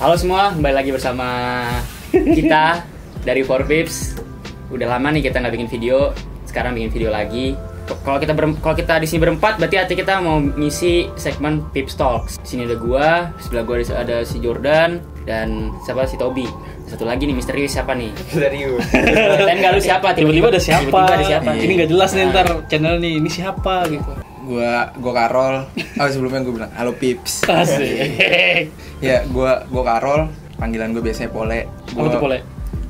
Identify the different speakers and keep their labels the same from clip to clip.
Speaker 1: Halo semua, kembali lagi bersama kita dari Four Pips. Udah lama nih kita nggak bikin video, sekarang bikin video lagi. Kalau kita berem- kalau kita di sini berempat, berarti arti kita mau ngisi segmen Pips Talks. Di sini ada gua, sebelah gua ada- ada si Jordan dan siapa si Tobi. Satu lagi nih misterius siapa nih?
Speaker 2: Serius.
Speaker 1: Dan nggak lu siapa?
Speaker 3: tiba-tiba ada siapa
Speaker 1: Tiba-tiba ada siapa?
Speaker 3: ini nggak jelas nih ntar channel nih ini siapa gitu
Speaker 2: gua gua Karol. Oh sebelumnya gua bilang halo Pips.
Speaker 3: asik
Speaker 2: Ya gua gua Karol. Panggilan gua biasanya Pole. Gua
Speaker 3: Apa tuh Pole?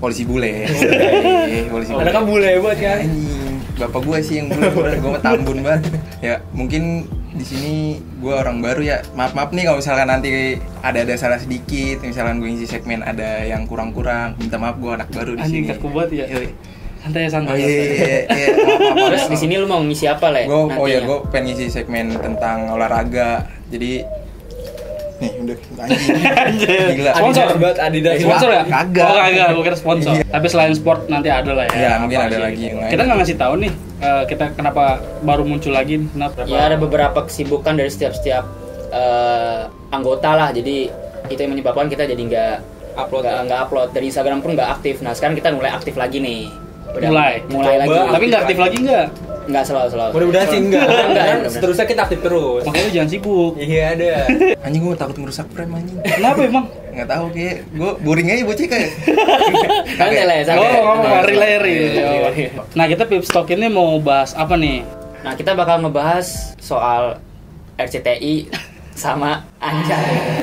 Speaker 3: Oh,
Speaker 2: Polisi bule. Iya, polisi bule.
Speaker 3: ada kan bule buat kan
Speaker 2: Anjing, Bapak gua sih yang bule. gua mah tambun banget. Ya mungkin di sini gua orang baru ya. Maaf maaf nih kalau misalkan nanti ada ada salah sedikit. Misalkan gua ngisi segmen ada yang kurang-kurang. Minta maaf gua anak baru di sini.
Speaker 3: anjing kaku banget ya
Speaker 2: Yoi.
Speaker 3: santai
Speaker 2: Oh
Speaker 3: santai
Speaker 2: iya iya
Speaker 3: santai.
Speaker 2: iya. iya. Maaf, maaf, maaf.
Speaker 1: Terus di sini lu mau ngisi apa,
Speaker 4: Eh,
Speaker 1: Le?
Speaker 2: Gue oh ya
Speaker 1: nantinya?
Speaker 2: gue pengen ngisi segmen tentang olahraga. Jadi nih udah anjing. Gila.
Speaker 3: Sponsor?
Speaker 2: Adidas banget, Adidas.
Speaker 3: sponsor ya
Speaker 2: Kagak.
Speaker 3: oh kagak gue kira sponsor
Speaker 2: Iya.
Speaker 3: tapi selain sport nanti ada lah ya
Speaker 2: Iya,
Speaker 3: Apa
Speaker 2: mungkin ada
Speaker 3: sih
Speaker 2: lagi
Speaker 3: gitu.
Speaker 2: yang lain.
Speaker 3: kita nggak ngasih tahu nih eh, kita kenapa baru muncul lagi nih, kenapa
Speaker 1: Ya ada beberapa kesibukan dari setiap-setiap eh, anggota lah. Jadi itu yang menyebabkan kita jadi nggak upload,
Speaker 3: ya?
Speaker 1: nggak nggak upload dari Instagram pun nggak aktif. Nah sekarang kita mulai aktif lagi nih. Udah
Speaker 3: mulai
Speaker 1: mulai lagi.
Speaker 3: Coba. tapi nggak aktif lagi nggak
Speaker 1: nggak selalu selalu.
Speaker 4: Mudah-mudahan sih enggak.
Speaker 1: Enggak, enggak,
Speaker 4: Mudah-mudahan
Speaker 1: enggak.
Speaker 4: Seterusnya kita aktif terus.
Speaker 3: makanya lu jangan sibuk
Speaker 4: Iya ada.
Speaker 2: Anjing gue takut ngerusak frame anjing.
Speaker 3: kenapa emang
Speaker 2: Nggak tahu kayak gue boring aja bocah kayak.
Speaker 1: Santai lah ya,
Speaker 3: Oh,
Speaker 1: santai.
Speaker 3: ngomong
Speaker 2: Iya,
Speaker 1: Santai.
Speaker 3: lari lari.
Speaker 4: Iya,
Speaker 3: Nah, kita Pip Stock ini mau bahas apa nih?
Speaker 1: Nah kita bakal ngebahas soal RCTI sama Anjay.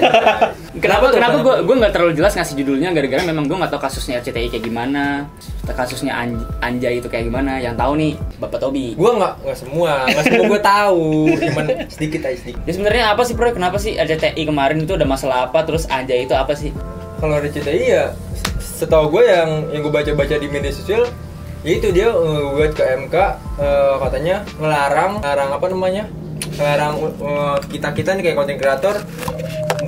Speaker 1: kenapa kenapa gue gue nggak terlalu jelas ngasih judulnya gara-gara memang gue nggak tahu kasusnya RCTI kayak gimana, kasusnya Anj- Anjay itu kayak gimana. Yang tahu nih Bapak Tobi.
Speaker 4: Gua enggak enggak semua, enggak semua gua tahu, cuman sedikit aja sedikit.
Speaker 1: Ya sebenarnya apa sih Bro? Kenapa sih RCTI kemarin itu ada masalah apa? Terus Anjay itu apa sih?
Speaker 4: Kalau ada CTI ya setahu gua yang yang gua baca-baca di media sosial ya itu dia buat ke MK eh, katanya melarang melarang apa namanya? Melarang eh, kita-kita nih kayak content creator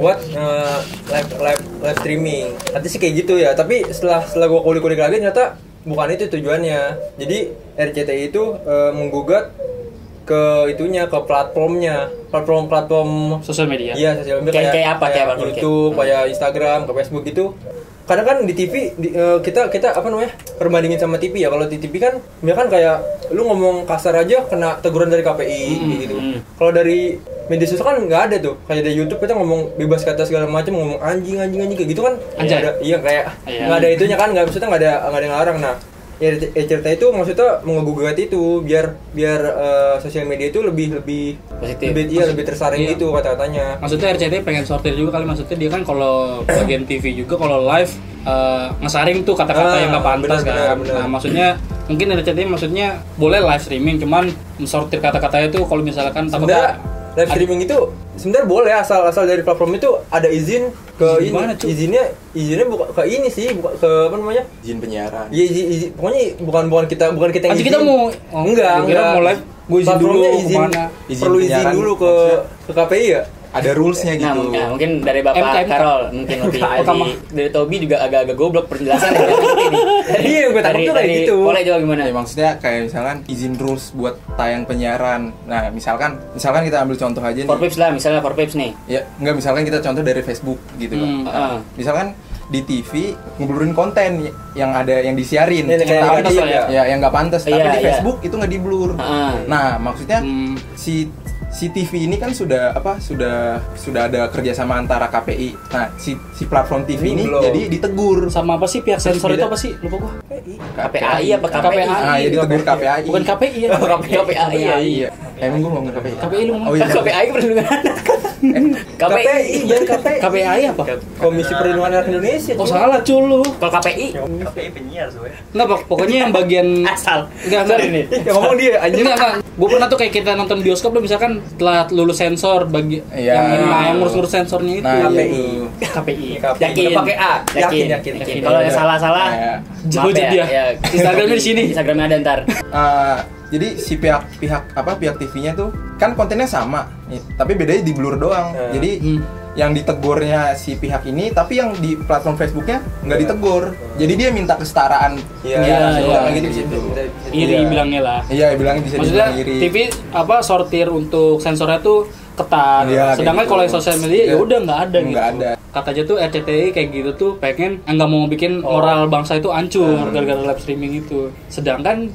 Speaker 4: buat eh, live live live streaming. Nanti sih kayak gitu ya, tapi setelah setelah gua kulik-kulik lagi ternyata bukan itu tujuannya. Jadi RCTI itu eh, menggugat ke itunya ke platformnya platform platform
Speaker 3: Sosial media.
Speaker 4: iya sosial media
Speaker 1: ya? Kayak- kayak apa, kayak Hmm. apa, kayak-
Speaker 4: YouTube kayak Instagram ke Facebook gitu kadang kan di TV di, eh, kita kita apa namanya perbandingin sama TV ya kalau di TV kan ya kan kayak lu ngomong kasar aja kena teguran dari KPI
Speaker 1: Hmm,
Speaker 4: gitu kalau dari media sosial kan nggak ada tuh kayak di YouTube kita ngomong bebas kata segala macam ngomong anjing anjing anjing kayak gitu kan
Speaker 3: Anjay.
Speaker 4: nggak ada iya kayak
Speaker 3: Iya.
Speaker 4: nggak ada itunya kan nggak maksudnya nggak ada nggak ada yang larang nah ya ya cerita itu maksudnya menggugat itu biar biar eh, sosial media itu lebih lebih
Speaker 1: Positif.
Speaker 4: lebih iya lebih tersaring gitu kata-katanya
Speaker 3: Maksudnya RCTI pengen sortir juga kali maksudnya dia kan kalau bagian TV juga kalau live eh, ngesaring tuh kata-kata
Speaker 4: Ah,
Speaker 3: yang nggak pantas
Speaker 4: benar,
Speaker 3: kan.
Speaker 4: benar, benar.
Speaker 3: Nah, maksudnya mungkin RCTI maksudnya boleh live streaming cuman sortir kata-katanya itu kalau misalkan
Speaker 4: sebenarnya
Speaker 3: takutnya
Speaker 4: live streaming itu sebenarnya boleh asal asal dari platform itu ada izin ke
Speaker 3: Izin
Speaker 4: ini
Speaker 3: mana, cuy?
Speaker 4: izinnya izinnya bukan ke ini sih bukan ke apa namanya
Speaker 2: Izin penyiaran.
Speaker 4: Iya, izin, izin. pokoknya bukan bukan kita bukan kita yang
Speaker 3: Nanti
Speaker 4: izin.
Speaker 3: kita mau- oh,
Speaker 4: enggak,
Speaker 3: gua kira
Speaker 4: enggak.
Speaker 3: mau live, gua izin dulu,
Speaker 4: Platformnya izin,
Speaker 3: kemana.
Speaker 2: Izin
Speaker 4: perlu izin
Speaker 2: penyiaran,
Speaker 4: dulu ke ke KPI ya.
Speaker 2: Ada rulesnya
Speaker 1: Nah,
Speaker 2: gitu.
Speaker 1: mungkin- nah, mungkin dari Bapak
Speaker 3: MK.
Speaker 1: Karol mungkin lebih
Speaker 3: Utama.
Speaker 1: dari, dari Tobi juga agak-agak goblok penjelasan ya.
Speaker 4: Iya, yang gue takut tuh kayak gitu.
Speaker 1: Boleh juga gimana?
Speaker 2: Ya maksudnya kayak misalkan izin rules buat tayang penyiaran. Nah misalkan misalkan kita ambil contoh aja
Speaker 1: Four
Speaker 2: nih.
Speaker 1: Pips lah, misalnya Four Pips nih.
Speaker 2: Ya nggak misalkan kita contoh dari Facebook gitu. kan.
Speaker 3: Hmm.
Speaker 1: Heeh.
Speaker 2: misalkan di TV ngebelurin konten y- yang ada yang disiarin
Speaker 4: Ini kayak
Speaker 2: Tapi-
Speaker 3: pantas lah ya.
Speaker 2: ya, yang nggak pantas tapi
Speaker 1: Iya,
Speaker 2: di
Speaker 1: iya.
Speaker 2: Facebook itu nggak diblur
Speaker 1: Heeh.
Speaker 2: nah maksudnya
Speaker 3: Ah. Hmm.
Speaker 2: si si TV ini kan sudah apa sudah sudah ada kerjasama antara KPI nah si si platform TV ini,
Speaker 4: Ini belum.
Speaker 2: jadi ditegur
Speaker 3: sama apa sih pihak sensor itu apa sih? Lupa gua.
Speaker 1: KPI apa KPI?
Speaker 3: KPI?
Speaker 2: nah ya ditegur KPI
Speaker 3: Ah, iya, Bukan KPI ya.
Speaker 1: KPI.
Speaker 2: iya emang gue ngomong KPI
Speaker 3: KPI lu ngomong.
Speaker 2: oh iya
Speaker 1: KPI perlindungan anak. KPI.
Speaker 4: jangan KPI.
Speaker 3: KPI apa?
Speaker 4: Komisi Perlindungan Anak Indonesia.
Speaker 3: Oh
Speaker 4: cuy.
Speaker 3: salah culu.
Speaker 1: Kalau KPI
Speaker 3: Enggak, pok- pokoknya yang bagian
Speaker 1: asal.
Speaker 3: enggak enggak ini.
Speaker 4: Ya ngomong dia anjing.
Speaker 3: Enggak, enggak. Gue pernah tuh kayak kita nonton bioskop lu misalkan telah lulus sensor bagi
Speaker 2: Iya.
Speaker 3: yang ini, nah, yang ngurus-ngurus sensornya itu.
Speaker 2: nah
Speaker 4: KPI.
Speaker 2: itu.
Speaker 1: KPI.
Speaker 4: KPI.
Speaker 1: Yakin.
Speaker 4: Udah pakai A. Yakin,
Speaker 1: Yakin.
Speaker 4: yakin,
Speaker 1: Yakin.
Speaker 4: yakin.
Speaker 1: Kalau yang salah-salah
Speaker 2: Iya.
Speaker 3: Jauh
Speaker 1: maaf
Speaker 3: jadi
Speaker 1: ya,
Speaker 3: ya.
Speaker 1: ya.
Speaker 3: Instagramnya di sini.
Speaker 1: Instagramnya ada ntar.
Speaker 2: Eh, jadi si pihak pihak apa pihak TV-nya tuh kan kontennya sama, ya, tapi bedanya di blur doang.
Speaker 4: Eh.
Speaker 2: Jadi
Speaker 3: Hmm.
Speaker 2: yang ditegurnya si pihak ini, tapi yang di platform Facebooknya nggak
Speaker 4: Iya.
Speaker 2: ditegur. Jadi dia minta kesetaraan
Speaker 4: Iya,
Speaker 2: penyiaran
Speaker 3: iya,
Speaker 2: doang
Speaker 3: iya.
Speaker 2: gitu gitu.
Speaker 3: Iri
Speaker 2: Iya.
Speaker 3: bilangnya lah.
Speaker 2: Iya, bilangnya bisa
Speaker 3: Maksudnya
Speaker 2: dibilang iri.
Speaker 3: TV apa sortir untuk sensornya tuh ketat.
Speaker 2: Iya, kayak
Speaker 3: Sedangkan
Speaker 2: gitu.
Speaker 3: kalau yang sosial media ya
Speaker 2: Iya.
Speaker 3: udah nggak ada gitu.
Speaker 2: nggak ada.
Speaker 3: katanya tuh RCTI kayak gitu tuh pengen eh, nggak mau bikin
Speaker 2: Oh.
Speaker 3: moral bangsa itu
Speaker 2: Hmm.
Speaker 3: hancur gara-gara live streaming itu sedangkan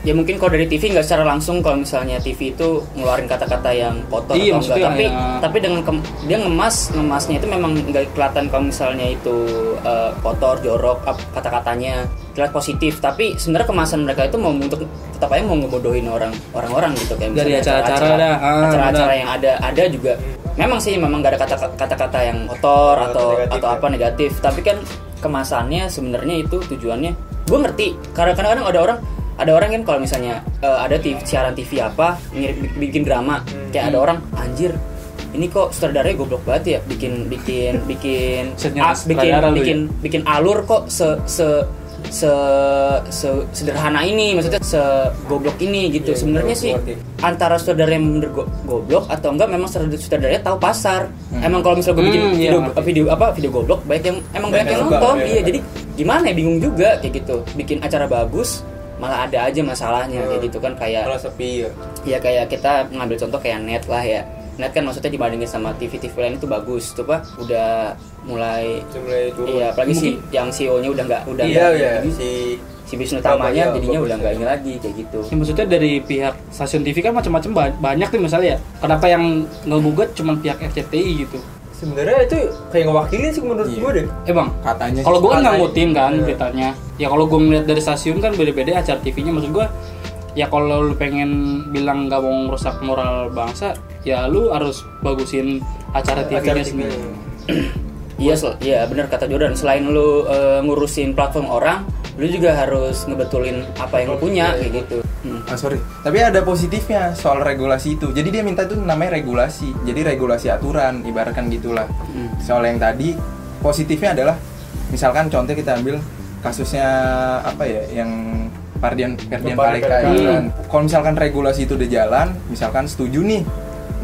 Speaker 1: ya mungkin kalau dari TV nggak secara langsung kalau misalnya TV itu ngeluarin kata-kata yang kotor atau
Speaker 3: Iya,
Speaker 1: enggak
Speaker 3: maksudnya
Speaker 1: tapi
Speaker 3: ya.
Speaker 1: tapi dengan kem- dia ngemas ngemasnya itu memang nggak kelihatan kalau misalnya itu eh, kotor jorok ap- kata-katanya terlihat positif tapi sebenarnya kemasan mereka itu mau untuk tetap aja mau ngebodohin orang orang-orang gitu kayak
Speaker 3: Dari
Speaker 1: misalnya
Speaker 3: acara-acara dah, ah,
Speaker 1: acara-acara
Speaker 3: benar.
Speaker 1: yang ada ada juga memang sih memang nggak ada kata- kata-kata yang kotor
Speaker 4: Atau
Speaker 1: atau
Speaker 4: negatif
Speaker 1: atau
Speaker 4: ya.
Speaker 1: apa negatif tapi kan kemasannya sebenarnya itu tujuannya gue ngerti karena kadang-kadang ada orang ada orang kan kalau misalnya eh, ada TV, siaran TV apa ngirip- bikin drama
Speaker 4: Hmm.
Speaker 1: kayak ada orang anjir ini kok sutradaranya goblok banget ya bikin bikin bikin
Speaker 3: Setnya
Speaker 1: ah, bikin
Speaker 4: ya?"
Speaker 3: sutradara lu
Speaker 1: bikin bikin alur kok se se se, se- sederhana ini maksudnya se goblok ini gitu
Speaker 4: Iya,
Speaker 1: sebenarnya
Speaker 4: iya,
Speaker 1: sih
Speaker 4: ngerti.
Speaker 1: antara sutradara yang bener go- goblok atau enggak memang sutradara- sutradaranya tahu pasar emang kalau misalnya gue bikin
Speaker 3: Hmm, iya,
Speaker 1: video,
Speaker 3: ngerti.
Speaker 1: video apa video goblok banyak yang emang banyak
Speaker 4: Banyak
Speaker 1: yang
Speaker 4: yang suka,
Speaker 1: nonton
Speaker 4: banyak
Speaker 1: iya
Speaker 4: yang
Speaker 1: jadi gimana ya bingung juga kayak gitu bikin acara bagus malah ada aja masalahnya kayak
Speaker 4: Hmm.
Speaker 1: gitu kan kayak
Speaker 4: malah sepi ya
Speaker 1: ya kayak kita ngambil contoh kayak net lah ya net kan maksudnya dibandingin sama TV TV lain itu bagus tuh pak udah mulai
Speaker 4: jumlah itu
Speaker 1: Iya, apalagi si yang CEO-nya udah nggak udah
Speaker 4: iya
Speaker 1: nggak-
Speaker 4: iya
Speaker 1: jadi
Speaker 4: si
Speaker 1: si bisnis utamanya
Speaker 4: Iya,
Speaker 1: jadinya
Speaker 4: bagus.
Speaker 1: udah nggak ini lagi kayak gitu.
Speaker 3: Ya, maksudnya dari pihak stasiun TV kan macam-macam ba- banyak tuh misalnya ya. Kenapa yang ngegugat cuma pihak RCTI gitu?
Speaker 4: sebenarnya itu kayak ngewakilin sih menurut
Speaker 2: Iya.
Speaker 4: gue deh
Speaker 3: Eh bang,
Speaker 2: Katanya
Speaker 3: kalau
Speaker 2: sih,
Speaker 3: gue kan
Speaker 4: katanya.
Speaker 3: ngangkutin kan
Speaker 4: Iya.
Speaker 3: beritanya. Ya kalau gue ngeliat dari stasiun kan beda-beda acara TV-nya. Maksud gue, ya kalau lu pengen bilang gak mau ngerusak moral bangsa, ya lu harus bagusin acara TV-nya sendiri.
Speaker 1: Iya, sel- iya benar kata Jordan. Selain lu eh, ngurusin platform orang, lu juga harus ngebetulin apa yang lu punya kayak gitu. Hmm.
Speaker 2: Ah, sorry. Tapi ada positifnya soal regulasi itu. Jadi dia minta itu namanya regulasi. Jadi regulasi aturan, ibaratkan gitulah. Soal yang tadi positifnya adalah misalkan contoh kita ambil kasusnya apa ya yang Pardian Ferdian
Speaker 4: Pardian
Speaker 2: Paleka itu
Speaker 3: Paleka.
Speaker 2: kan. Kalau misalkan regulasi itu udah jalan, misalkan setuju nih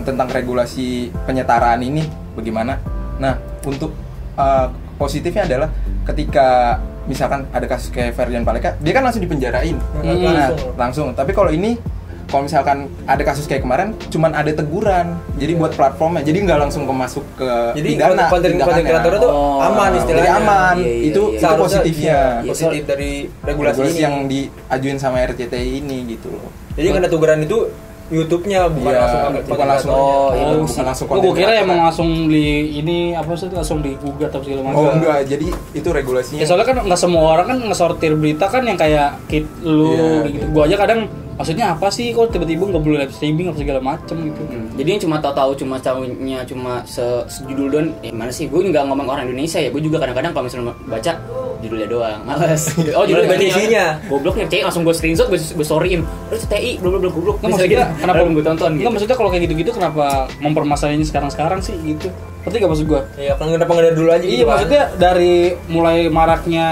Speaker 2: tentang regulasi penyetaraan ini bagaimana? Nah, untuk eh, positifnya adalah ketika misalkan ada kasus kayak Ferdian Paleka, dia kan langsung dipenjarain.
Speaker 4: Hmm.
Speaker 2: Nah,
Speaker 4: Langsung.
Speaker 2: langsung. Tapi kalau ini kalau misalkan ada kasus kayak kemarin, cuman ada teguran. Jadi buat platformnya, jadi nggak langsung kemasuk ke
Speaker 4: Iya. Jadi
Speaker 2: pidana.
Speaker 4: konten- konten
Speaker 2: tindakannya.
Speaker 4: kreator itu
Speaker 1: Oh,
Speaker 4: aman
Speaker 2: Jadi
Speaker 4: istilahnya.
Speaker 2: aman.
Speaker 1: Iya, iya,
Speaker 2: itu,
Speaker 1: iya.
Speaker 2: itu
Speaker 4: Seharusnya,
Speaker 2: positifnya.
Speaker 4: iya, positif dari regulasi,
Speaker 2: Regulasi,
Speaker 4: ini.
Speaker 2: yang diajuin sama RCTI ini gitu loh.
Speaker 4: Jadi karena tugaran itu YouTube-nya bukan
Speaker 2: Iya,
Speaker 4: langsung ke
Speaker 2: bukan langsung.
Speaker 4: kreatornya.
Speaker 2: Oh, iya,
Speaker 3: Oh,
Speaker 2: bukan langsung
Speaker 3: oh, gue
Speaker 2: konten
Speaker 3: kira
Speaker 2: kreator.
Speaker 3: emang langsung di ini apa sih langsung digugat atau segala macam.
Speaker 2: Oh enggak, jadi itu regulasinya.
Speaker 3: Ya soalnya kan nggak semua orang kan ngesortir berita kan yang kayak kit lu
Speaker 2: Iya,
Speaker 3: gitu. Gua aja kadang maksudnya apa sih kok tiba-tiba nggak boleh live streaming apa segala macem gitu.
Speaker 1: Hmm. Jadi yang cuma tahu-tahu cuma tahunya cuma se- sejudul doang. Eh, mana sih? Gue nggak ngomong orang Indonesia ya. Gue juga kadang-kadang kalau misalnya baca judulnya doang, males. Oh judulnya
Speaker 4: Bukan
Speaker 1: ini.
Speaker 4: isinya.
Speaker 1: Goblok nih, langsung gue screenshot, gue gue sorryin. Terus TI, belum belum goblok.
Speaker 3: Nggak maksudnya kenapa
Speaker 1: gitu. belum gue tonton? gitu.
Speaker 3: Nggak maksudnya kalau kayak gitu-gitu kenapa mempermasalahinnya sekarang-sekarang sih gitu. Berarti gak maksud gua?
Speaker 4: Iya, kan kenapa nggak dari dulu aja
Speaker 3: Iya
Speaker 4: gitu kan?
Speaker 3: maksudnya dari mulai maraknya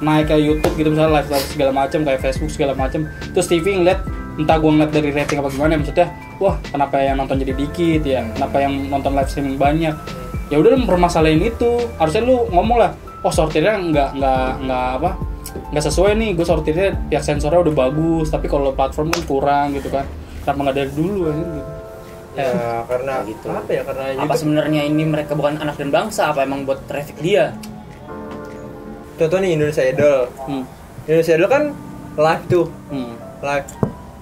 Speaker 3: naik ke YouTube gitu misalnya live live segala macam kayak Facebook segala macam terus TV ngeliat entah gua ngeliat dari rating apa gimana maksudnya wah kenapa yang nonton jadi dikit ya kenapa yang nonton live streaming banyak ya udah lu mempermasalahin itu harusnya lu ngomong lah oh sortirnya nggak nggak nggak apa nggak sesuai nih gue sortirnya pihak sensornya udah bagus tapi kalau platform kan kurang gitu kan kenapa nggak dari dulu aja gitu
Speaker 4: Ya,
Speaker 2: Nah,
Speaker 4: karena
Speaker 1: Kayak gitu.
Speaker 4: apa ya? Karena
Speaker 1: apa
Speaker 4: YouTube.
Speaker 1: sebenarnya ini mereka bukan anak dan bangsa apa emang buat traffic dia
Speaker 4: Contoh nih Indonesia Idol.
Speaker 3: hmm.
Speaker 4: Indonesia Idol kan live tuh,
Speaker 3: Hmm.
Speaker 4: live.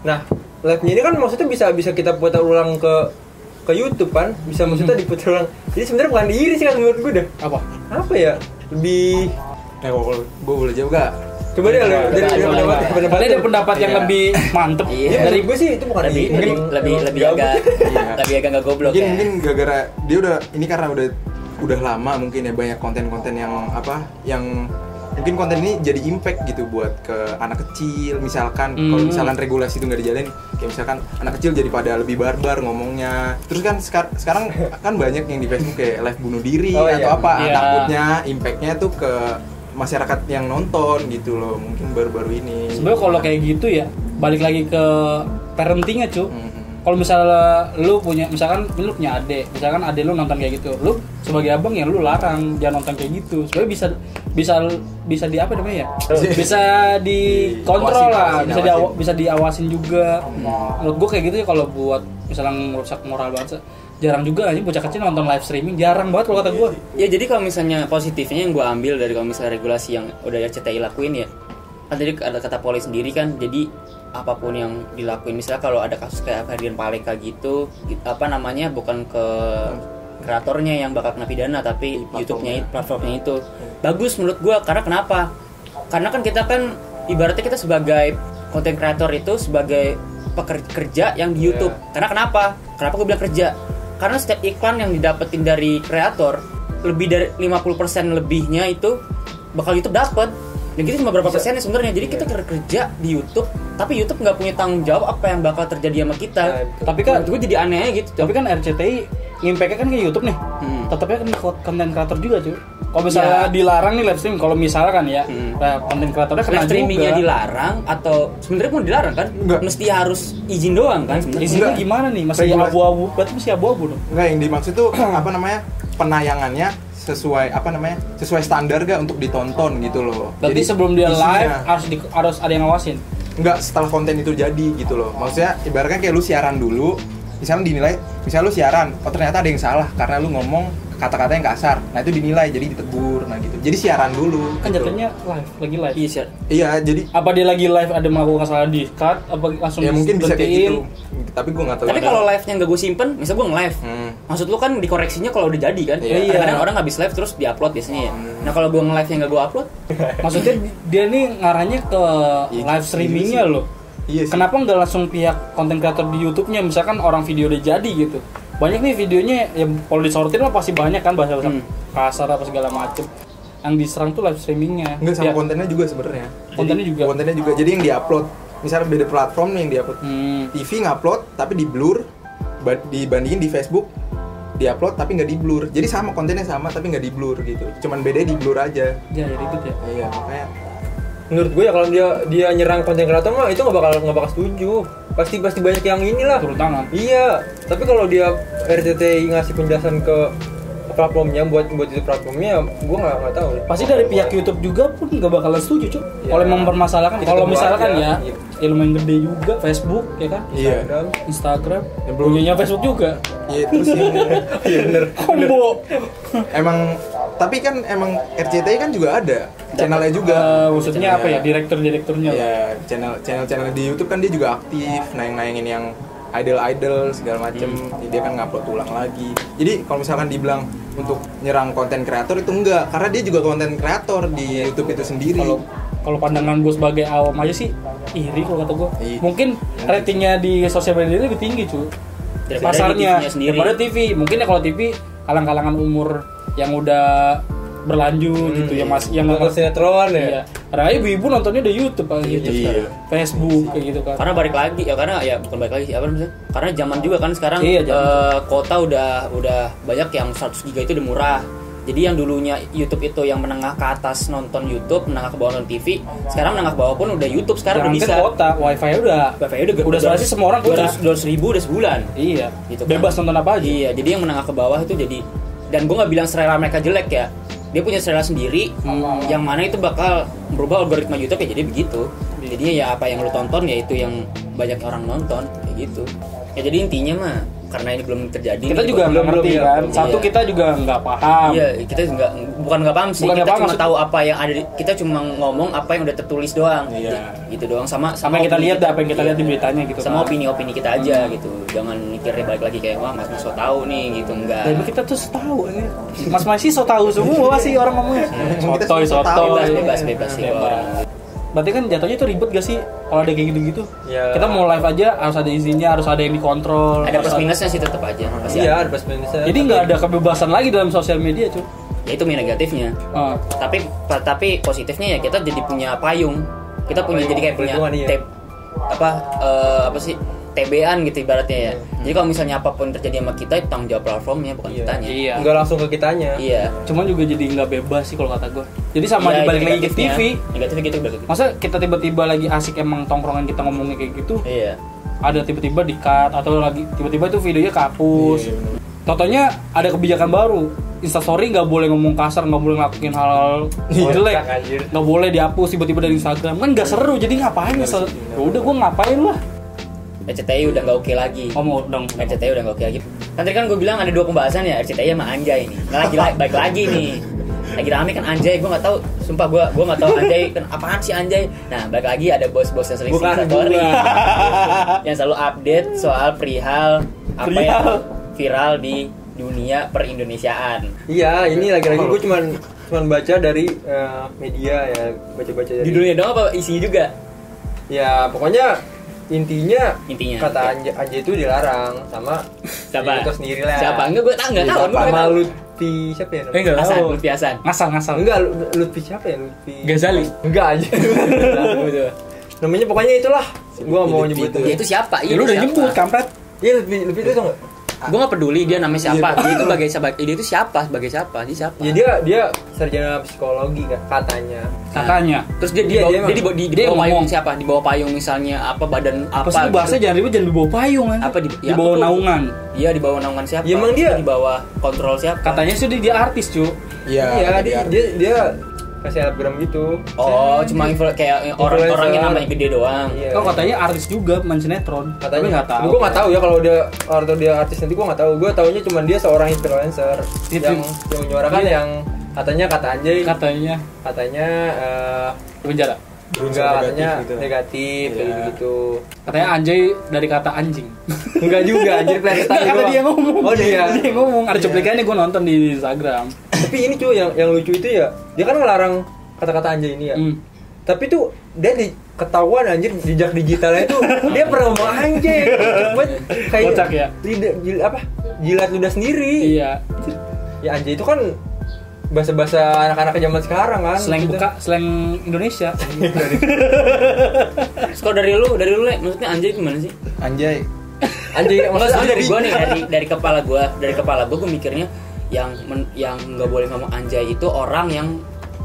Speaker 4: Nah, live-nya ini kan maksudnya bisa bisa kita putar ulang ke ke YouTube kan, bisa
Speaker 3: Hmm.
Speaker 4: maksudnya diputar ulang. Jadi sebenarnya bukan diri sih kan menurut gue dah.
Speaker 3: apa
Speaker 4: Apa ya? Lebih
Speaker 2: Eh, kalau gue boleh jawab gak?
Speaker 4: coba deh lu dari dari
Speaker 1: coba,
Speaker 4: pendapat
Speaker 1: coba.
Speaker 4: pendapat.
Speaker 3: Kalian ada pendapat yang
Speaker 2: Iya.
Speaker 3: lebih mantep
Speaker 1: Iya.
Speaker 4: Ya,
Speaker 3: dari
Speaker 4: dari gue sih itu bukan
Speaker 1: lebih
Speaker 4: diri.
Speaker 1: lebih
Speaker 4: Emang-
Speaker 1: lebih
Speaker 4: emang
Speaker 1: lebih
Speaker 4: gabut.
Speaker 1: agak
Speaker 2: Iya.
Speaker 1: lebih agak nggak goblok
Speaker 2: Mungkin
Speaker 1: ya
Speaker 2: mungkin gara-gara dia udah ini karena udah udah lama mungkin ya banyak konten-konten yang apa yang mungkin konten ini jadi impact gitu buat ke anak kecil misalkan kalau
Speaker 3: Hmm.
Speaker 2: misalkan regulasi itu nggak dijalin kayak misalkan anak kecil jadi pada lebih barbar ngomongnya terus kan sekar- sekarang kan banyak yang di Facebook kayak live bunuh diri
Speaker 4: Oh,
Speaker 2: atau
Speaker 4: iya.
Speaker 2: apa
Speaker 3: Iya.
Speaker 2: takutnya impactnya tuh ke masyarakat yang nonton gitu loh mungkin baru-baru ini
Speaker 3: sebenarnya kalau kayak gitu ya balik lagi ke parentingnya cu
Speaker 2: Mhm.
Speaker 3: kalau misalnya lu punya misalkan lu punya adik misalkan adik lu nonton kayak gitu lu sebagai abang ya lu larang jangan nonton kayak gitu sebenarnya bisa bisa bisa di apa namanya ya bisa dikontrol
Speaker 2: Awasin,
Speaker 3: lah
Speaker 2: awasin,
Speaker 3: bisa di
Speaker 2: awasin.
Speaker 3: bisa diawasin juga menurut gue kayak gitu ya kalau buat misalnya merusak moral bangsa jarang juga anjing bocah kecil nonton live streaming jarang banget kalau kata gue
Speaker 1: Ya jadi kalau misalnya positifnya yang gue ambil dari kalau misalnya regulasi yang udah RCTI lakuin ya kan tadi ada kata poli sendiri kan jadi apapun yang dilakuin misalnya kalau ada kasus kayak Ferdian Paleka gitu it- apa namanya bukan ke kreatornya yang bakal kena pidana tapi YouTube-nya it- platformnya itu bagus menurut gue karena kenapa karena kan kita kan ibaratnya kita sebagai konten kreator itu sebagai pekerja yang di YouTube karena kenapa kenapa gue bilang kerja karena setiap iklan yang didapetin dari kreator lebih dari 50% lebihnya itu bakal YouTube dapat dan kita cuma berapa persennya sebenarnya jadi kita kerja di YouTube tapi YouTube nggak punya tanggung jawab apa yang bakal terjadi sama kita
Speaker 4: Nah, betul.
Speaker 3: Tapi kan-
Speaker 1: gue jadi aneh aja gitu
Speaker 3: tapi kan RCTI impact-nya kan ke YouTube nih
Speaker 1: Hmm.
Speaker 3: tetapnya kan ke konten kreator juga cuy kalau misalnya
Speaker 1: Ya.
Speaker 3: dilarang nih live stream kalau misalkan ya
Speaker 1: Hmm.
Speaker 3: nah, konten kreatornya kena
Speaker 1: Live streamingnya
Speaker 3: juga
Speaker 1: dilarang atau sebenarnya pun dilarang kan
Speaker 2: Nggak.
Speaker 1: mesti harus izin doang kan sebenarnya
Speaker 3: izinnya
Speaker 2: Enggak.
Speaker 3: gimana nih masih
Speaker 2: Regulasi.
Speaker 3: abu-abu berarti masih abu-abu dong
Speaker 2: Enggak yang dimaksud tuh apa namanya penayangannya sesuai apa namanya sesuai standar gak untuk ditonton gitu loh.
Speaker 3: berarti sebelum dia
Speaker 2: isinya.
Speaker 3: live ah- harus di, harus ada yang ngawasin
Speaker 2: nggak setelah konten itu jadi gitu loh maksudnya ibaratnya kayak lu siaran dulu misalnya dinilai misalnya lu siaran oh ternyata ada yang salah karena lu ngomong kata-kata yang kasar nah itu dinilai jadi ditegur nah gitu jadi siaran dulu
Speaker 3: kan
Speaker 2: gitu.
Speaker 3: jatuhnya live lagi live
Speaker 1: Iya, sir.
Speaker 2: iya jadi
Speaker 3: apa dia lagi live ada melakukan kesalahan di cut apa langsung
Speaker 2: ya mungkin bisa kayak
Speaker 3: diberhentiin?
Speaker 2: gitu tapi gua nggak tahu
Speaker 1: tapi kalau live-nya nggak gue simpen misal gue nge-live
Speaker 2: Hmm.
Speaker 1: maksud lu kan dikoreksinya kalau udah jadi kan
Speaker 2: Iya.
Speaker 1: kadang-kadang orang habis live terus diupload biasanya ya
Speaker 3: Hmm.
Speaker 1: nah kalau gue nge-live yang nggak gue upload
Speaker 3: maksudnya dia nih ngarahnya ke
Speaker 2: Iya,
Speaker 3: live streamingnya
Speaker 2: iya sih.
Speaker 3: loh
Speaker 2: iya sih.
Speaker 3: kenapa nggak langsung pihak konten kreator di YouTube-nya misalkan orang video udah jadi gitu banyak nih videonya ya kalau disortir mah pasti banyak kan bahasa bahasa
Speaker 1: Hmm.
Speaker 3: kasar apa segala macem yang diserang tuh live streamingnya Ya.
Speaker 2: nggak sama
Speaker 3: Pihak-
Speaker 2: kontennya juga sebenarnya Jadi,
Speaker 3: Iya. Kontennya juga?
Speaker 2: kontennya juga jadi yang diupload misalnya beda platform nih yang diupload
Speaker 3: hmm.
Speaker 2: TV ngupload tapi di blur ba- dibandingin di Facebook diupload tapi nggak di blur jadi sama kontennya sama tapi nggak di blur gitu cuman bedanya di blur aja
Speaker 3: ya, ya ribet ya
Speaker 2: iya makanya
Speaker 4: menurut gue ya kalau dia dia nyerang konten kreator mah itu nggak bakal nggak bakal setuju pasti pasti banyak yang inilah
Speaker 3: turun tangan
Speaker 4: iya tapi kalau dia RCTI ngasih penjelasan ke platformnya buat buat itu platformnya gue nggak nggak tahu
Speaker 3: pasti dari pihak YouTube juga pun nggak bakalan
Speaker 2: Ya.
Speaker 3: setuju cuy
Speaker 4: Iya.
Speaker 3: kalau emang mempermasalahkan
Speaker 4: Itu
Speaker 3: kalau
Speaker 4: kedua
Speaker 3: misalkan
Speaker 4: aja.
Speaker 3: ya
Speaker 4: Iya.
Speaker 3: ilmu yang gede juga Facebook ya kan
Speaker 2: iya
Speaker 4: Instagram.
Speaker 3: Instagram
Speaker 2: Ya, belum.
Speaker 3: punyanya Facebook juga
Speaker 2: iya terus yang
Speaker 4: iya bener
Speaker 3: combo
Speaker 2: emang tapi kan emang RCTI kan juga ada channelnya juga
Speaker 3: Eh, maksudnya apa
Speaker 2: Iya.
Speaker 3: ya direktur-direkturnya lah.
Speaker 2: Iya, channel channel channel di YouTube kan dia juga aktif nayang-nayangin yang idol-idol segala macem
Speaker 4: Hmm.
Speaker 2: Jadi dia kan ngupload ulang lagi jadi kalau misalkan dibilang untuk nyerang konten kreator itu enggak karena dia juga konten kreator di YouTube itu sendiri
Speaker 3: kalau kalau pandangan gue sebagai awam aja sih iri kalau kata gue
Speaker 2: Iya.
Speaker 3: mungkin ratingnya di sosial media lebih tinggi cuy
Speaker 1: Daripada di
Speaker 3: pasarnya
Speaker 1: TV-nya Ya, sendiri.
Speaker 3: daripada TV mungkin ya kalau TV kalang-kalangan umur yang udah berlanjut
Speaker 1: Hmm,
Speaker 3: gitu
Speaker 1: iya.
Speaker 3: ya mas yang
Speaker 4: nonton sinetron
Speaker 3: Iya.
Speaker 4: ya
Speaker 3: Karena ibu-ibu nontonnya di YouTube kan gitu
Speaker 2: Iya.
Speaker 3: sekarang. Facebook kayak gitu kan.
Speaker 1: karena balik lagi ya karena ya bukan balik lagi sih, apa namanya karena zaman juga kan sekarang
Speaker 3: Iya, zaman.
Speaker 1: eh, kota udah udah banyak yang 100 giga itu udah murah jadi yang dulunya YouTube itu yang menengah ke atas nonton YouTube menengah ke bawah nonton TV sekarang menengah ke bawah pun udah YouTube sekarang
Speaker 3: Jangan
Speaker 1: udah
Speaker 3: kan
Speaker 1: bisa Iya,
Speaker 3: kota, wifi udah.
Speaker 1: Wifi udah
Speaker 3: udah soalnya sih semua orang punya.
Speaker 1: 200 200 ribu udah sebulan
Speaker 3: Iya.
Speaker 1: Gitu kan.
Speaker 3: Bebas nonton apa aja.
Speaker 1: iya jadi yang menengah ke bawah itu jadi dan gue nggak bilang selera mereka jelek ya dia punya selera sendiri
Speaker 3: Hmm.
Speaker 1: yang mana itu bakal berubah algoritma YouTube ya jadi begitu
Speaker 3: Iya.
Speaker 1: jadinya ya apa yang lu tonton ya itu yang banyak orang nonton kayak gitu ya jadi intinya mah karena ini belum terjadi
Speaker 3: Kita
Speaker 1: nih,
Speaker 3: juga
Speaker 1: gua-
Speaker 3: nggak
Speaker 4: belum-
Speaker 3: ngerti
Speaker 4: belum,
Speaker 3: kan.
Speaker 1: belum.
Speaker 3: Satu
Speaker 1: Iya.
Speaker 3: kita juga nggak paham.
Speaker 1: iya kita nggak bukan nggak paham sih
Speaker 3: Bukan nggak
Speaker 1: kita
Speaker 3: paham,
Speaker 1: cuma
Speaker 3: maksud-
Speaker 1: tahu apa yang ada di- kita cuma ngomong apa yang udah tertulis doang
Speaker 2: Iya.
Speaker 1: gitu doang sama
Speaker 3: Sama yang kita
Speaker 1: opini
Speaker 3: lihat dah, apa yang kita lihat di
Speaker 1: Iya.
Speaker 3: beritanya gitu
Speaker 1: sama
Speaker 3: kan. Hmm.
Speaker 1: opini-opini kita aja gitu jangan mikirnya balik lagi kayak wah mas Muso tahu nih gitu enggak
Speaker 3: Dan kita tuh eh. tahu ini. Mas Masih so tahu semua sih orang ngomongnya.
Speaker 2: Kita
Speaker 3: Sotoy,
Speaker 2: semua tahu.
Speaker 3: sotoy.
Speaker 1: bebas bebas bebas sih
Speaker 3: Bebas.
Speaker 1: orang
Speaker 3: Berarti kan jatuhnya itu ribet gak sih kalau ada kayak gitu-gitu?
Speaker 4: Ya.
Speaker 3: Kita mau live aja harus ada izinnya, harus ada yang dikontrol.
Speaker 1: ada
Speaker 3: harus
Speaker 1: plus minusnya sih tetap aja pasti
Speaker 4: iya
Speaker 1: ada.
Speaker 4: ada plus minusnya
Speaker 3: Jadi nggak ada kebebasan lagi dalam sosial media cuy.
Speaker 1: ya itu minus negatifnya
Speaker 3: Ah.
Speaker 1: tapi pa- tapi positifnya ya kita jadi punya payung kita punya jadi kayak punya
Speaker 4: Perlindungan, iya.
Speaker 1: tab apa eh, apa sih TBAN gitu ibaratnya ya jadi kalau misalnya apapun terjadi sama kita itu tanggung jawab platformnya bukan
Speaker 4: Iya.
Speaker 1: kitanya
Speaker 3: Hmm. Iya.
Speaker 4: nggak langsung ke kitanya
Speaker 1: iya
Speaker 3: Cuman juga jadi nggak bebas sih kalau kata gue. Jadi sama
Speaker 1: Iya,
Speaker 3: dibalik lagi ke
Speaker 1: negatifnya.
Speaker 3: TV.
Speaker 1: negatifnya gitu balik lagi.
Speaker 3: Masa kita tiba-tiba lagi asik emang tongkrongan kita ngomongnya kayak gitu,
Speaker 1: iya
Speaker 3: ada tiba-tiba di cut atau lagi tiba-tiba itu videonya kapus. Totonya ada kebijakan baru. Instastory nggak boleh ngomong kasar, nggak boleh ngelakuin hal-hal jelek,
Speaker 4: kak, anjir.
Speaker 3: nggak boleh dihapus tiba-tiba dari Instagram. Kan nggak seru, jadi ngapain? Insta- Ya udah, gue ngapain lah.
Speaker 1: RCTI udah nggak oke lagi
Speaker 3: Oh mau dong.
Speaker 1: RCTI udah nggak oke lagi kan tadi kan gue bilang ada dua pembahasan ya RCTI sama Anjay nih nggak lagi la- baik lagi nih lagi rame kan Anjay gue nggak tahu sumpah gue gue nggak tahu Anjay kan apaan sih Anjay nah balik lagi ada bos-bos yang sering
Speaker 3: Bukan
Speaker 1: story
Speaker 3: gua.
Speaker 1: yang selalu update soal perihal apa yang
Speaker 3: Perihal.
Speaker 1: viral di dunia perindonesiaan
Speaker 4: Iya, ini lagi-lagi gue cuman cuman baca dari eh, media ya, baca-baca dari.
Speaker 1: di dunia dong apa isinya juga
Speaker 4: Ya, pokoknya intinya
Speaker 1: Intinya,
Speaker 4: kata
Speaker 1: oke.
Speaker 4: Anja, Anja itu dilarang sama
Speaker 1: siapa
Speaker 4: diri Itu sendiri lah.
Speaker 1: siapa enggak gue tak nggak
Speaker 3: Iya,
Speaker 1: tahu
Speaker 4: Siapa?
Speaker 1: Gua
Speaker 4: Sama
Speaker 1: nggak
Speaker 4: Lutfi siapa ya?
Speaker 1: tahu.
Speaker 3: Eh,
Speaker 4: namanya?
Speaker 1: Hasan Lutfi Hasan
Speaker 3: Ngasal ngasal.
Speaker 4: Enggak, Lu- Lutfi siapa ya? Lutfi.
Speaker 3: Ghazali.
Speaker 4: Enggak aja.
Speaker 3: Iya.
Speaker 1: Betul.
Speaker 4: Namanya pokoknya itulah. Gua nggak mau
Speaker 5: Lutfi
Speaker 4: nyebut
Speaker 5: itu.
Speaker 1: dia itu siapa
Speaker 3: Ya lu udah
Speaker 1: siapa?
Speaker 3: nyebut kampret.
Speaker 4: Iya, Lutfi, Lutfi itu tau nggak?
Speaker 1: gue gak peduli dia namanya siapa
Speaker 3: Iya.
Speaker 1: dia itu sebagai siapa dia itu siapa sebagai siapa dia siapa Nah,
Speaker 4: Ya dia dia sarjana psikologi kan katanya.
Speaker 3: Katanya.
Speaker 1: terus dia di
Speaker 4: Iya,
Speaker 1: bawah,
Speaker 4: dia
Speaker 1: dia, di, bawah- di, di
Speaker 3: Dia
Speaker 1: bawah
Speaker 3: ngomong.
Speaker 1: payung siapa di bawah payung misalnya apa badan apa gitu.
Speaker 3: Apa sih lu bahasa jangan ribut jangan dibawa payung kan?
Speaker 1: Apa di- ya,
Speaker 3: dibawa
Speaker 1: apa tuh?
Speaker 3: naungan?
Speaker 1: dia di bawah naungan siapa
Speaker 4: Ya, emang dia-
Speaker 1: di bawah kontrol siapa
Speaker 3: Katanya sih dia- dia artis cu.
Speaker 5: Iya,
Speaker 4: Iya,
Speaker 5: ada di
Speaker 4: dia,
Speaker 5: Arab.
Speaker 4: dia dia kasih selebgram gitu.
Speaker 1: oh cuma influ- kayak
Speaker 4: Influencer.
Speaker 1: orang-orang yang namanya gede doang
Speaker 4: Iya.
Speaker 3: Kau katanya artis juga main sinetron.
Speaker 4: katanya
Speaker 3: Tapi nggak tahu.
Speaker 4: Gue nggak tahu ya kalau dia atau dia artis nanti gue nggak tahu. Gue taunya cuma dia seorang influencer
Speaker 3: Itu-
Speaker 4: yang yang menyuarakan
Speaker 3: Iya.
Speaker 4: yang katanya kata anjay,
Speaker 3: Katanya
Speaker 4: katanya eh,
Speaker 3: di penjara.
Speaker 5: Berunsur negatif
Speaker 4: enggak katanya
Speaker 5: gitu.
Speaker 4: negatif
Speaker 5: Iya.
Speaker 4: kayak gitu.
Speaker 3: Katanya Anjay dari kata anjing.
Speaker 4: Enggak juga anjir kelihatan
Speaker 3: Nggak, Iya, kata
Speaker 4: doang.
Speaker 3: dia ngomong.
Speaker 4: Oh dia.
Speaker 3: Dia ngomong. Ada cuplikannya gue nonton di Instagram.
Speaker 4: Tapi ini cuy yang yang lucu itu ya, dia kan ngelarang kata-kata anjay ini ya.
Speaker 3: Hmm.
Speaker 4: Tapi tuh dia di ketahuan anjir jejak digitalnya tuh dia pernah ngomong anjay. Cepet kayak
Speaker 3: Kocak ya?
Speaker 4: lidah- jil- apa? Jilat ludah sendiri.
Speaker 3: Iya.
Speaker 4: Ya anjay itu kan bahasa-bahasa anak-anak zaman sekarang kan.
Speaker 3: Slang
Speaker 4: Maksudnya.
Speaker 3: buka, slang Indonesia.
Speaker 1: Terus kalau dari lu dari lu Le, maksudnya anjay gimana sih
Speaker 2: Anjay.
Speaker 4: Anjay
Speaker 1: Maksud
Speaker 4: maksudnya
Speaker 1: dari gua nih dari dari kepala gua, dari kepala gua gua mikirnya yang men- yang nggak boleh ngomong anjay itu orang yang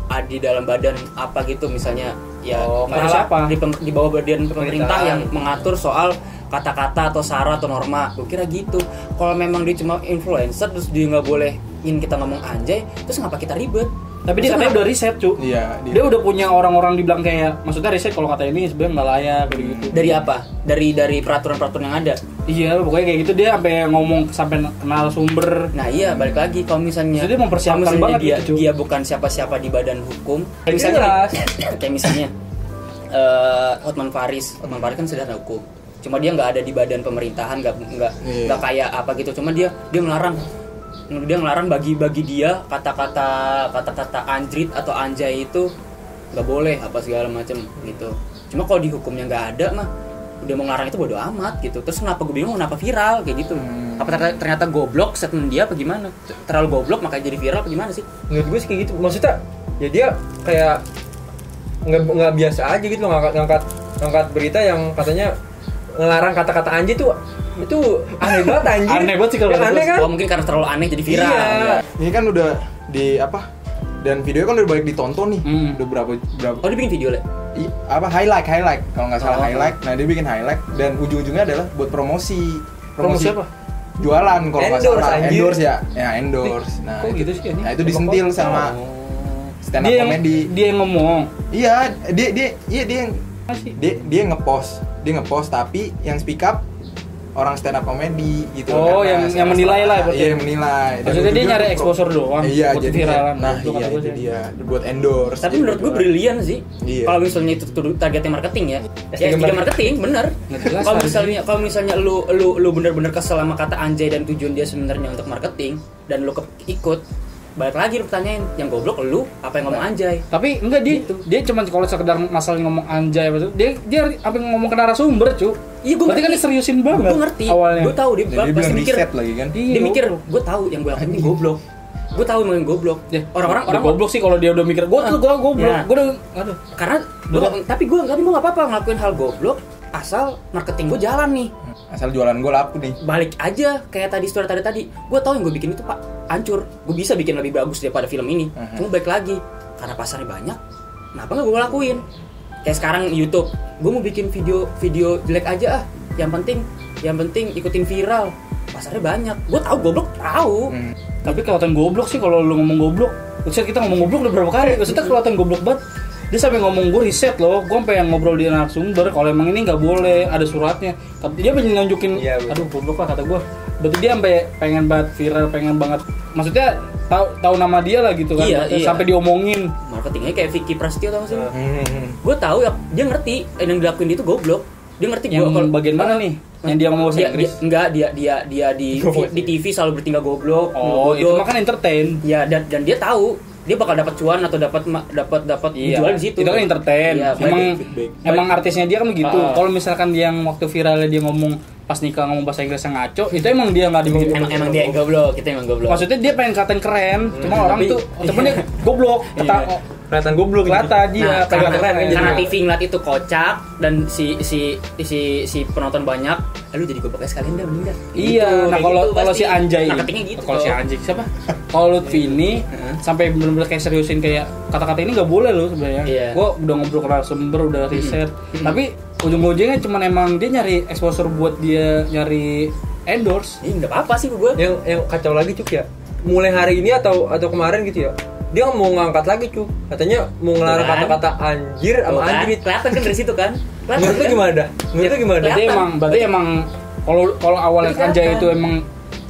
Speaker 1: ada di dalam badan apa gitu misalnya ya
Speaker 4: Oh,
Speaker 1: kepala-
Speaker 3: kayak siapa?
Speaker 1: di, pem- di bawah badan pemerintah yang
Speaker 4: Pemerintahan.
Speaker 1: mengatur soal kata-kata atau sara atau norma gue kira gitu kalau memang dia cuma influencer terus dia nggak boleh ingin kita ngomong anjay terus ngapa kita ribet
Speaker 3: Tapi
Speaker 1: Terus
Speaker 3: dia katanya
Speaker 1: kenapa-
Speaker 3: udah riset cu.
Speaker 5: Iya, dia.
Speaker 3: Dia udah punya orang-orang dibilang kayak maksudnya riset kalau kata ini sebenarnya nggak layak kayak gitu.
Speaker 1: dari apa dari dari peraturan-peraturan yang ada
Speaker 3: Iya, pokoknya kayak gitu dia sampai ngomong sampai kenal sumber.
Speaker 1: Nah iya balik lagi kalau misalnya
Speaker 3: Jadi mempersiapkan
Speaker 1: kalau misalnya
Speaker 3: banget
Speaker 1: dia,
Speaker 3: gitu, Cuk.
Speaker 1: dia bukan siapa-siapa di badan hukum.
Speaker 4: Ya,
Speaker 1: Misalnya
Speaker 4: jelas.
Speaker 1: kayak misalnya eh Hotman Paris, Hotman Paris kan sederhana hukum. Cuma dia nggak ada di badan pemerintahan, nggak nggak
Speaker 5: Iya.
Speaker 1: nggak kayak apa gitu. Cuma dia dia melarang dia ngelarang bagi bagi dia kata-kata kata-kata anjrit atau anjay itu nggak boleh apa segala macam gitu. Cuma kalau di hukumnya nggak ada mah udah mau ngelarang itu bodo amat gitu. Terus kenapa gue bingung kenapa viral kayak gitu?
Speaker 4: Hmm.
Speaker 1: Apa ternyata, ternyata goblok statement dia apa gimana? Terlalu goblok makanya jadi viral apa gimana sih?
Speaker 4: menurut gue sih kayak gitu maksudnya ya dia kayak nggak nggak biasa aja gitu loh ngangkat ngangkat ngangkat berita yang katanya ngelarang kata-kata anjing tuh itu aneh banget anjing
Speaker 3: Aneh banget sih kalau
Speaker 4: Ya,
Speaker 3: kata
Speaker 4: aneh
Speaker 3: gue.
Speaker 4: kan
Speaker 1: Oh mungkin karena terlalu aneh jadi viral.
Speaker 4: Iya.
Speaker 5: Ini kan udah di apa? Dan videonya kan udah banyak ditonton nih.
Speaker 3: Hmm.
Speaker 5: Udah berapa berapa
Speaker 1: Oh dia bikin video lah.
Speaker 5: i- apa highlight highlight kalau nggak salah
Speaker 1: Oh.
Speaker 5: highlight. Nah, dia bikin highlight dan ujung-ujungnya adalah buat promosi.
Speaker 3: Promosi apa?
Speaker 5: Jualan kalau nggak
Speaker 4: Endorse,
Speaker 5: salah.
Speaker 4: anjir.
Speaker 5: Endorse ya. Ya, endorse. Nah,
Speaker 3: Kok
Speaker 5: itu,
Speaker 3: gitu sih Oh.
Speaker 5: nah,
Speaker 3: ini?
Speaker 5: itu disentil
Speaker 2: Oh,
Speaker 5: sama stand up
Speaker 3: Dia yang
Speaker 5: comedy.
Speaker 3: dia yang ngomong.
Speaker 5: Iya, dia dia iya dia yang
Speaker 3: Apa sih?
Speaker 5: dia dia ngepost dia ngepost tapi yang speak up orang stand up comedy gitu
Speaker 3: Oh,
Speaker 5: Karena
Speaker 3: yang-
Speaker 5: stand
Speaker 3: yang
Speaker 5: up-
Speaker 3: menilai lah berarti. ya.
Speaker 5: iya yang menilai Dan
Speaker 3: Maksudnya dia
Speaker 5: ujung-ujung
Speaker 3: nyari
Speaker 5: kok-
Speaker 3: exposure doang
Speaker 5: iya
Speaker 3: buat
Speaker 5: jadi
Speaker 3: viralan.
Speaker 5: nah
Speaker 3: Itu
Speaker 5: iya
Speaker 3: kata gue
Speaker 5: itu
Speaker 3: sih.
Speaker 5: dia buat endorse
Speaker 1: Tapi
Speaker 5: Jadi
Speaker 1: menurut gue
Speaker 5: buat-
Speaker 1: brilian sih.
Speaker 5: Iya.
Speaker 1: Kalau misalnya itu tuh targetnya marketing ya.
Speaker 3: Iya,
Speaker 4: S3
Speaker 1: Ya S3 marketing, bener.
Speaker 3: Nggak jelas,
Speaker 1: Kalau
Speaker 3: anjing.
Speaker 1: misalnya kalau misalnya lu lu lu bener-bener kesel sama kata anjay dan tujuan dia sebenarnya untuk marketing dan lu ke- ikut balik lagi lu tanyain yang goblok lu apa yang
Speaker 3: Iya.
Speaker 1: ngomong anjay
Speaker 3: Tapi enggak dia dia cuma kalau sekedar masalah ngomong anjay apa itu, dia dia apa ngomong ke narasumber, cu.
Speaker 1: Iya gue
Speaker 3: Berarti kan diseriusin banget.
Speaker 1: Gue ngerti.
Speaker 3: Awalnya.
Speaker 1: Gue tahu dia,
Speaker 5: Dan dia
Speaker 1: pasti
Speaker 5: bilang
Speaker 1: mikir.
Speaker 5: riset lagi kan
Speaker 3: Iya.
Speaker 1: Dia mikir, gue tahu yang gue lakuin ini goblok. Gue tahu emang yang Iya. goblok.
Speaker 3: Ya,
Speaker 1: Orang-orang
Speaker 3: Iya. udah
Speaker 1: orang
Speaker 3: goblok sih kalau dia udah mikir gue tuh gue goblok
Speaker 1: Ya.
Speaker 3: gue udah aduh
Speaker 1: Karena gua, nggak- tapi gue tapi gue nggak apa-apa ngelakuin hal goblok asal marketing gue jalan nih
Speaker 5: asal jualan gue laku nih
Speaker 1: balik aja kayak tadi story tadi tadi gue tahu yang gue bikin itu pak hancur gue bisa bikin lebih bagus daripada film ini
Speaker 5: Mhm.
Speaker 1: cuma balik lagi karena pasarnya banyak kenapa nggak gue lakuin kayak sekarang YouTube gue mau bikin video video jelek aja ah yang penting yang penting ikutin viral pasarnya banyak gue tahu goblok tahu
Speaker 5: Hmm.
Speaker 3: tapi kelihatan goblok sih kalau lu ngomong goblok Buset kita ngomong goblok udah berapa kali Buset kelihatan goblok banget dia sampai ngomong gue riset loh gue sampai yang ngobrol di narasumber kalau emang ini nggak boleh ada suratnya tapi dia pengen nunjukin
Speaker 4: Iya, betul.
Speaker 3: aduh goblok lah kata gue berarti dia sampai pengen banget viral pengen banget maksudnya tahu tahu nama dia lah gitu kan
Speaker 1: Iya,
Speaker 3: Maksudnya
Speaker 1: iya.
Speaker 3: sampai diomongin
Speaker 1: marketingnya kayak Vicky Prasetyo tau gak sih?
Speaker 3: Iya.
Speaker 4: Hmm.
Speaker 5: Hmm.
Speaker 1: Gue tahu ya, dia ngerti eh, yang dilakuin dia itu goblok. Dia ngerti
Speaker 3: yang
Speaker 1: gua kalau Iya,
Speaker 3: bagian mana nih yang dia mau bahasa
Speaker 1: dia,
Speaker 3: Inggris
Speaker 1: dia- enggak dia dia dia di di TV selalu bertingkah goblok.
Speaker 3: oh itu
Speaker 1: bodoh.
Speaker 3: mah kan entertain
Speaker 1: Ya dan dan dia tahu dia bakal dapat cuan atau dapat ma- dapat dapat dijual di situ.
Speaker 3: Itu kan entertain.
Speaker 1: Iya,
Speaker 3: emang
Speaker 1: baik.
Speaker 5: feedback.
Speaker 3: emang artisnya dia kan begitu.
Speaker 1: Ah.
Speaker 3: Kalau misalkan dia yang waktu viralnya dia ngomong pas nikah ngomong bahasa Inggris yang ngaco, itu emang dia nggak dibegitu.
Speaker 1: emang emang dia yang goblok, kita emang goblok.
Speaker 3: kan. Maksudnya dia pengen kelihatan keren, cuma orang
Speaker 1: tapi-
Speaker 3: tuh cuman dia goblok, kata oh,
Speaker 1: Iya.
Speaker 5: Kelihatan goblok gitu.
Speaker 3: kelihatan dia gitu.
Speaker 1: Nah,
Speaker 3: pengen
Speaker 4: kan
Speaker 1: karena,
Speaker 3: keren.
Speaker 1: karena TV ngeliat itu kocak dan si si si si penonton banyak, lalu jadi gobloknya sekalian dah mending dah.
Speaker 3: Iya,
Speaker 1: Gitu,
Speaker 3: nah
Speaker 1: kayak
Speaker 3: kalau
Speaker 1: gitu
Speaker 3: kalau
Speaker 1: pasti.
Speaker 3: si Anjay
Speaker 1: marketingnya gitu.
Speaker 3: Kalau si
Speaker 1: toh.
Speaker 3: Anjay siapa? Kalau Lutfi ini
Speaker 1: Heeh.
Speaker 3: sampai benar-benar kayak seriusin kayak kata-kata ini nggak boleh loh sebenarnya.
Speaker 1: Iya.
Speaker 3: Gue udah ngobrol ke narasumber, udah
Speaker 1: Hmm.
Speaker 3: riset. Tapi ujung-ujungnya cuman emang dia nyari exposure buat dia nyari endorse.
Speaker 1: Ih, nggak apa-apa sih gue.
Speaker 3: Ya,
Speaker 4: yang yang kacau lagi cuk ya mulai hari ini atau atau kemarin gitu ya dia mau ngangkat lagi cuk katanya mau ngelarang
Speaker 1: Tuh kan.
Speaker 4: kata-kata anjir
Speaker 1: Tuh
Speaker 4: sama
Speaker 1: kan,
Speaker 4: anjir
Speaker 1: kelihatan kan dari situ kan? Kelihatan
Speaker 3: Iya.
Speaker 4: menurut lu
Speaker 1: kan?
Speaker 4: gimana dah menurut lu gimana dah
Speaker 3: Berarti
Speaker 1: Kelihatan.
Speaker 3: emang berarti emang kalau kalau awalnya
Speaker 1: Kelihatan.
Speaker 3: Anjay itu emang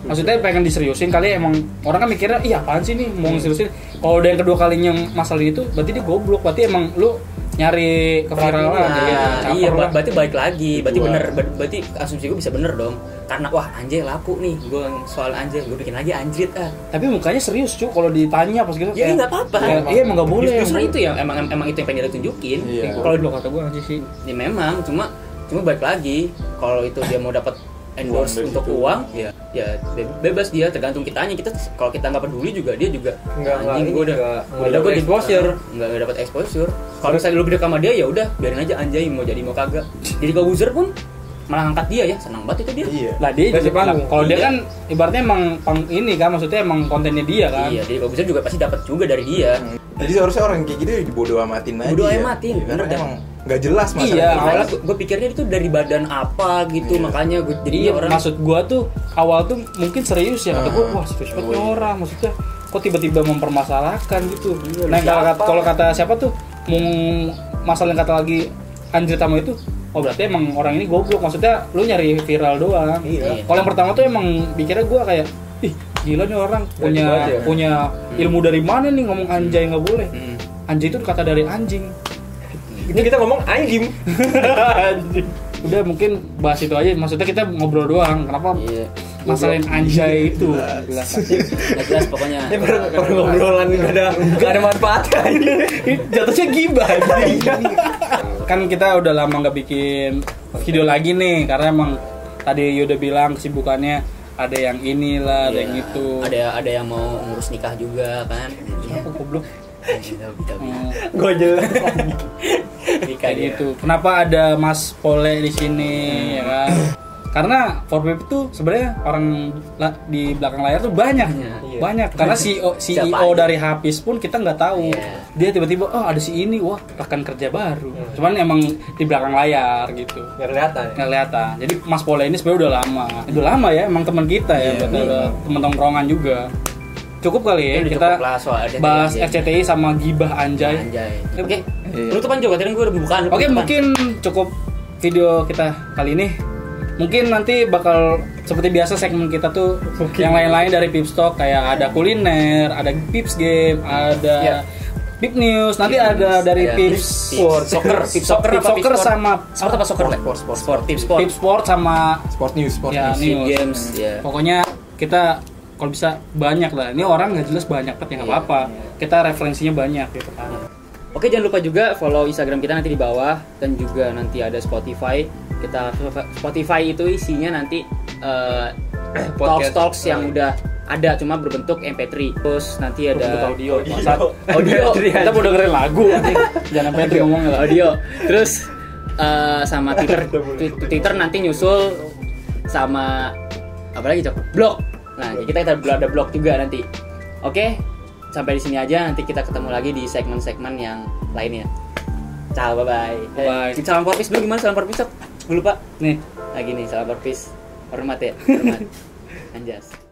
Speaker 3: maksudnya pengen diseriusin kali emang orang kan mikirnya iya apaan sih nih mau seriusin kalau udah yang kedua kalinya masalah itu berarti dia goblok berarti emang lu nyari keviralan
Speaker 1: Nah,
Speaker 3: ya, caper
Speaker 1: iya,
Speaker 3: lah.
Speaker 1: berarti balik lagi, berarti
Speaker 5: Kedua.
Speaker 1: bener, Ber- berarti asumsi gue bisa bener dong. Karena wah anjay laku nih, gue soal anjay, gue bikin lagi anjrit ah.
Speaker 3: tapi mukanya serius cuy kalau ditanya pas gitu
Speaker 1: Ya
Speaker 3: kayak-
Speaker 1: nggak apa-apa.
Speaker 3: kayak, iya emang nggak boleh
Speaker 1: Justru itu ya, emang emang itu yang pengen dia tunjukin.
Speaker 5: Iya.
Speaker 1: Kalau
Speaker 3: kalau dulu kata gue aja sih
Speaker 1: ya memang cuma cuma balik lagi kalau itu dia mau dapat endorse
Speaker 5: dari
Speaker 1: untuk
Speaker 5: situ.
Speaker 1: uang ya ya be- bebas dia tergantung kitanya kita kalau kita nggak peduli juga dia juga
Speaker 4: Nggak, nggak,
Speaker 1: anjing gue udah gua
Speaker 4: nggak, nggak
Speaker 1: udah
Speaker 4: dapet
Speaker 1: gua di-
Speaker 4: exposure."
Speaker 1: Ah, nggak nggak dapat exposure kalau misalnya lu beda sama dia ya udah biarin aja anjay mau jadi mau kagak jadi kalau user pun malah angkat dia ya senang banget itu dia
Speaker 5: Iya.
Speaker 3: lah Nah, dia
Speaker 4: Dari
Speaker 3: juga
Speaker 4: panggung.
Speaker 3: lah, kalau dia
Speaker 1: Iya.
Speaker 3: kan ibaratnya emang pang- ini kan maksudnya emang kontennya dia kan
Speaker 1: iya jadi kalau user juga pasti dapat juga dari dia
Speaker 5: Jadi seharusnya orang kayak gitu dibodoh amatin aja.
Speaker 1: Bodo
Speaker 5: Ya,
Speaker 1: amatin,
Speaker 5: karena
Speaker 1: bener dah.
Speaker 5: emang nggak jelas masalah.
Speaker 3: Iya,
Speaker 1: awalnya gue pikirnya itu dari badan apa gitu
Speaker 5: Iya.
Speaker 1: makanya gue jadi
Speaker 4: Iya,
Speaker 3: jadi
Speaker 1: orang Ah,
Speaker 3: maksud gua tuh awal tuh mungkin serius ya kata gua wah serius banget nih orang maksudnya kok tiba-tiba mempermasalahkan gitu
Speaker 1: Iya,
Speaker 3: nah kalau kata, kalau kata siapa tuh mau masalah yang kata lagi anjir tamu itu oh berarti emang orang ini goblok maksudnya lu nyari viral doang
Speaker 1: Iya.
Speaker 3: kalau yang pertama tuh emang pikirnya gua kayak ih gila nih orang punya
Speaker 4: banget ya.
Speaker 3: punya ilmu dari mana nih ngomong anjay nggak boleh
Speaker 1: Hmm.
Speaker 3: anjay itu kata dari anjing
Speaker 4: ini kita ngomong anjim
Speaker 3: udah mungkin bahas itu aja maksudnya kita ngobrol doang kenapa
Speaker 1: Iya.
Speaker 3: masalahin anjay itu
Speaker 1: Nggak jelas pokoknya
Speaker 4: ini baru baru ngobrolan nggak ada nggak ada manfaatnya
Speaker 3: jatuhnya gibah kan kita udah lama nggak bikin video lagi nih karena emang tadi Yuda bilang kesibukannya ada yang inilah ada
Speaker 1: Iya.
Speaker 3: yang itu
Speaker 1: Ada ada yang mau ngurus nikah juga kan. Iya.
Speaker 3: aku goblok
Speaker 1: Kita kita
Speaker 3: Hmm,
Speaker 4: gue jelas
Speaker 1: nikah dia.
Speaker 3: kayak
Speaker 1: Hmm.
Speaker 3: gitu kenapa ada Mas Pole di sini ya kan karena Forbip itu sebenarnya orang la- di belakang layar tuh banyak
Speaker 1: Iya.
Speaker 3: banyak karena E CEO CEO
Speaker 1: Siapa aja?
Speaker 3: dari Hafiz pun kita nggak tahu
Speaker 1: Iya. Hmm.
Speaker 3: dia tiba-tiba oh ada si ini wah rekan kerja baru cuman emang di belakang layar gitu
Speaker 4: nggak kelihatan ya
Speaker 3: nggak kelihatan jadi Mas Pole ini sebenarnya udah lama udah lama ya emang teman kita
Speaker 1: Iya,
Speaker 3: ya berarti udah teman tongkrongan juga cukup kali ya
Speaker 1: Ini udah
Speaker 3: kita
Speaker 1: cukup lah soal RCTI
Speaker 3: bahas
Speaker 1: aja.
Speaker 3: RCTI sama gibah anjay
Speaker 1: Anjay.
Speaker 3: Oke.
Speaker 1: Oke. Penutupan juga tadi gue udah bukaan.
Speaker 3: Iya. Oke
Speaker 1: penutupan.
Speaker 3: mungkin cukup video kita kali ini Mungkin nanti bakal seperti biasa segmen kita tuh yang lain-lain dari Pips Talk kayak ada kuliner, ada Pips Game,
Speaker 1: Iya.
Speaker 3: ada Pip News, nanti
Speaker 1: Tips,
Speaker 3: ada dari
Speaker 1: ada
Speaker 3: Pips
Speaker 1: tips, tips soccer, tips soccer,
Speaker 3: Pips
Speaker 1: apa
Speaker 3: Soccer
Speaker 1: Pips sport?
Speaker 3: sama
Speaker 1: sport apa soccer? Sport, sport, sport, tips sport.
Speaker 3: Pips Sport sama
Speaker 1: Iya.
Speaker 5: Sport news, sport
Speaker 3: ya,
Speaker 5: news.
Speaker 1: Sea
Speaker 3: news.
Speaker 1: Games, ya.
Speaker 3: Pokoknya kita kalau bisa banyak lah. Ini orang nggak jelas banyak, tapi nggak apa-apa.
Speaker 1: Iya.
Speaker 3: Kita referensinya banyak gitu kan.
Speaker 1: Oke jangan lupa juga follow Instagram kita nanti di bawah dan juga nanti ada Spotify. Kita Spotify itu isinya nanti talks
Speaker 4: Podcast.
Speaker 1: talks
Speaker 3: Iya.
Speaker 1: yang udah ada cuma berbentuk MP3. Terus nanti ada
Speaker 3: Berbentuk audio.
Speaker 1: Saat- audio.
Speaker 3: Kita mau dengerin lagu. Jangan sampai itu ngomongnya lah.
Speaker 1: audio. Terus eh, sama Twitter Twi- Twitter nanti nyusul sama apa lagi cok? Blog. Nah kita kita ada blog juga nanti. Oke sampai di sini aja nanti kita ketemu lagi di segmen-segmen yang lainnya. Ciao bye bye.
Speaker 3: Bye-bye.
Speaker 1: Salam Forbis dulu gimana salam Forbis cok? Gue lupa.
Speaker 3: Nih.
Speaker 1: Lagi nih salam Forbis. Hormat ya. Hormat. Anjas.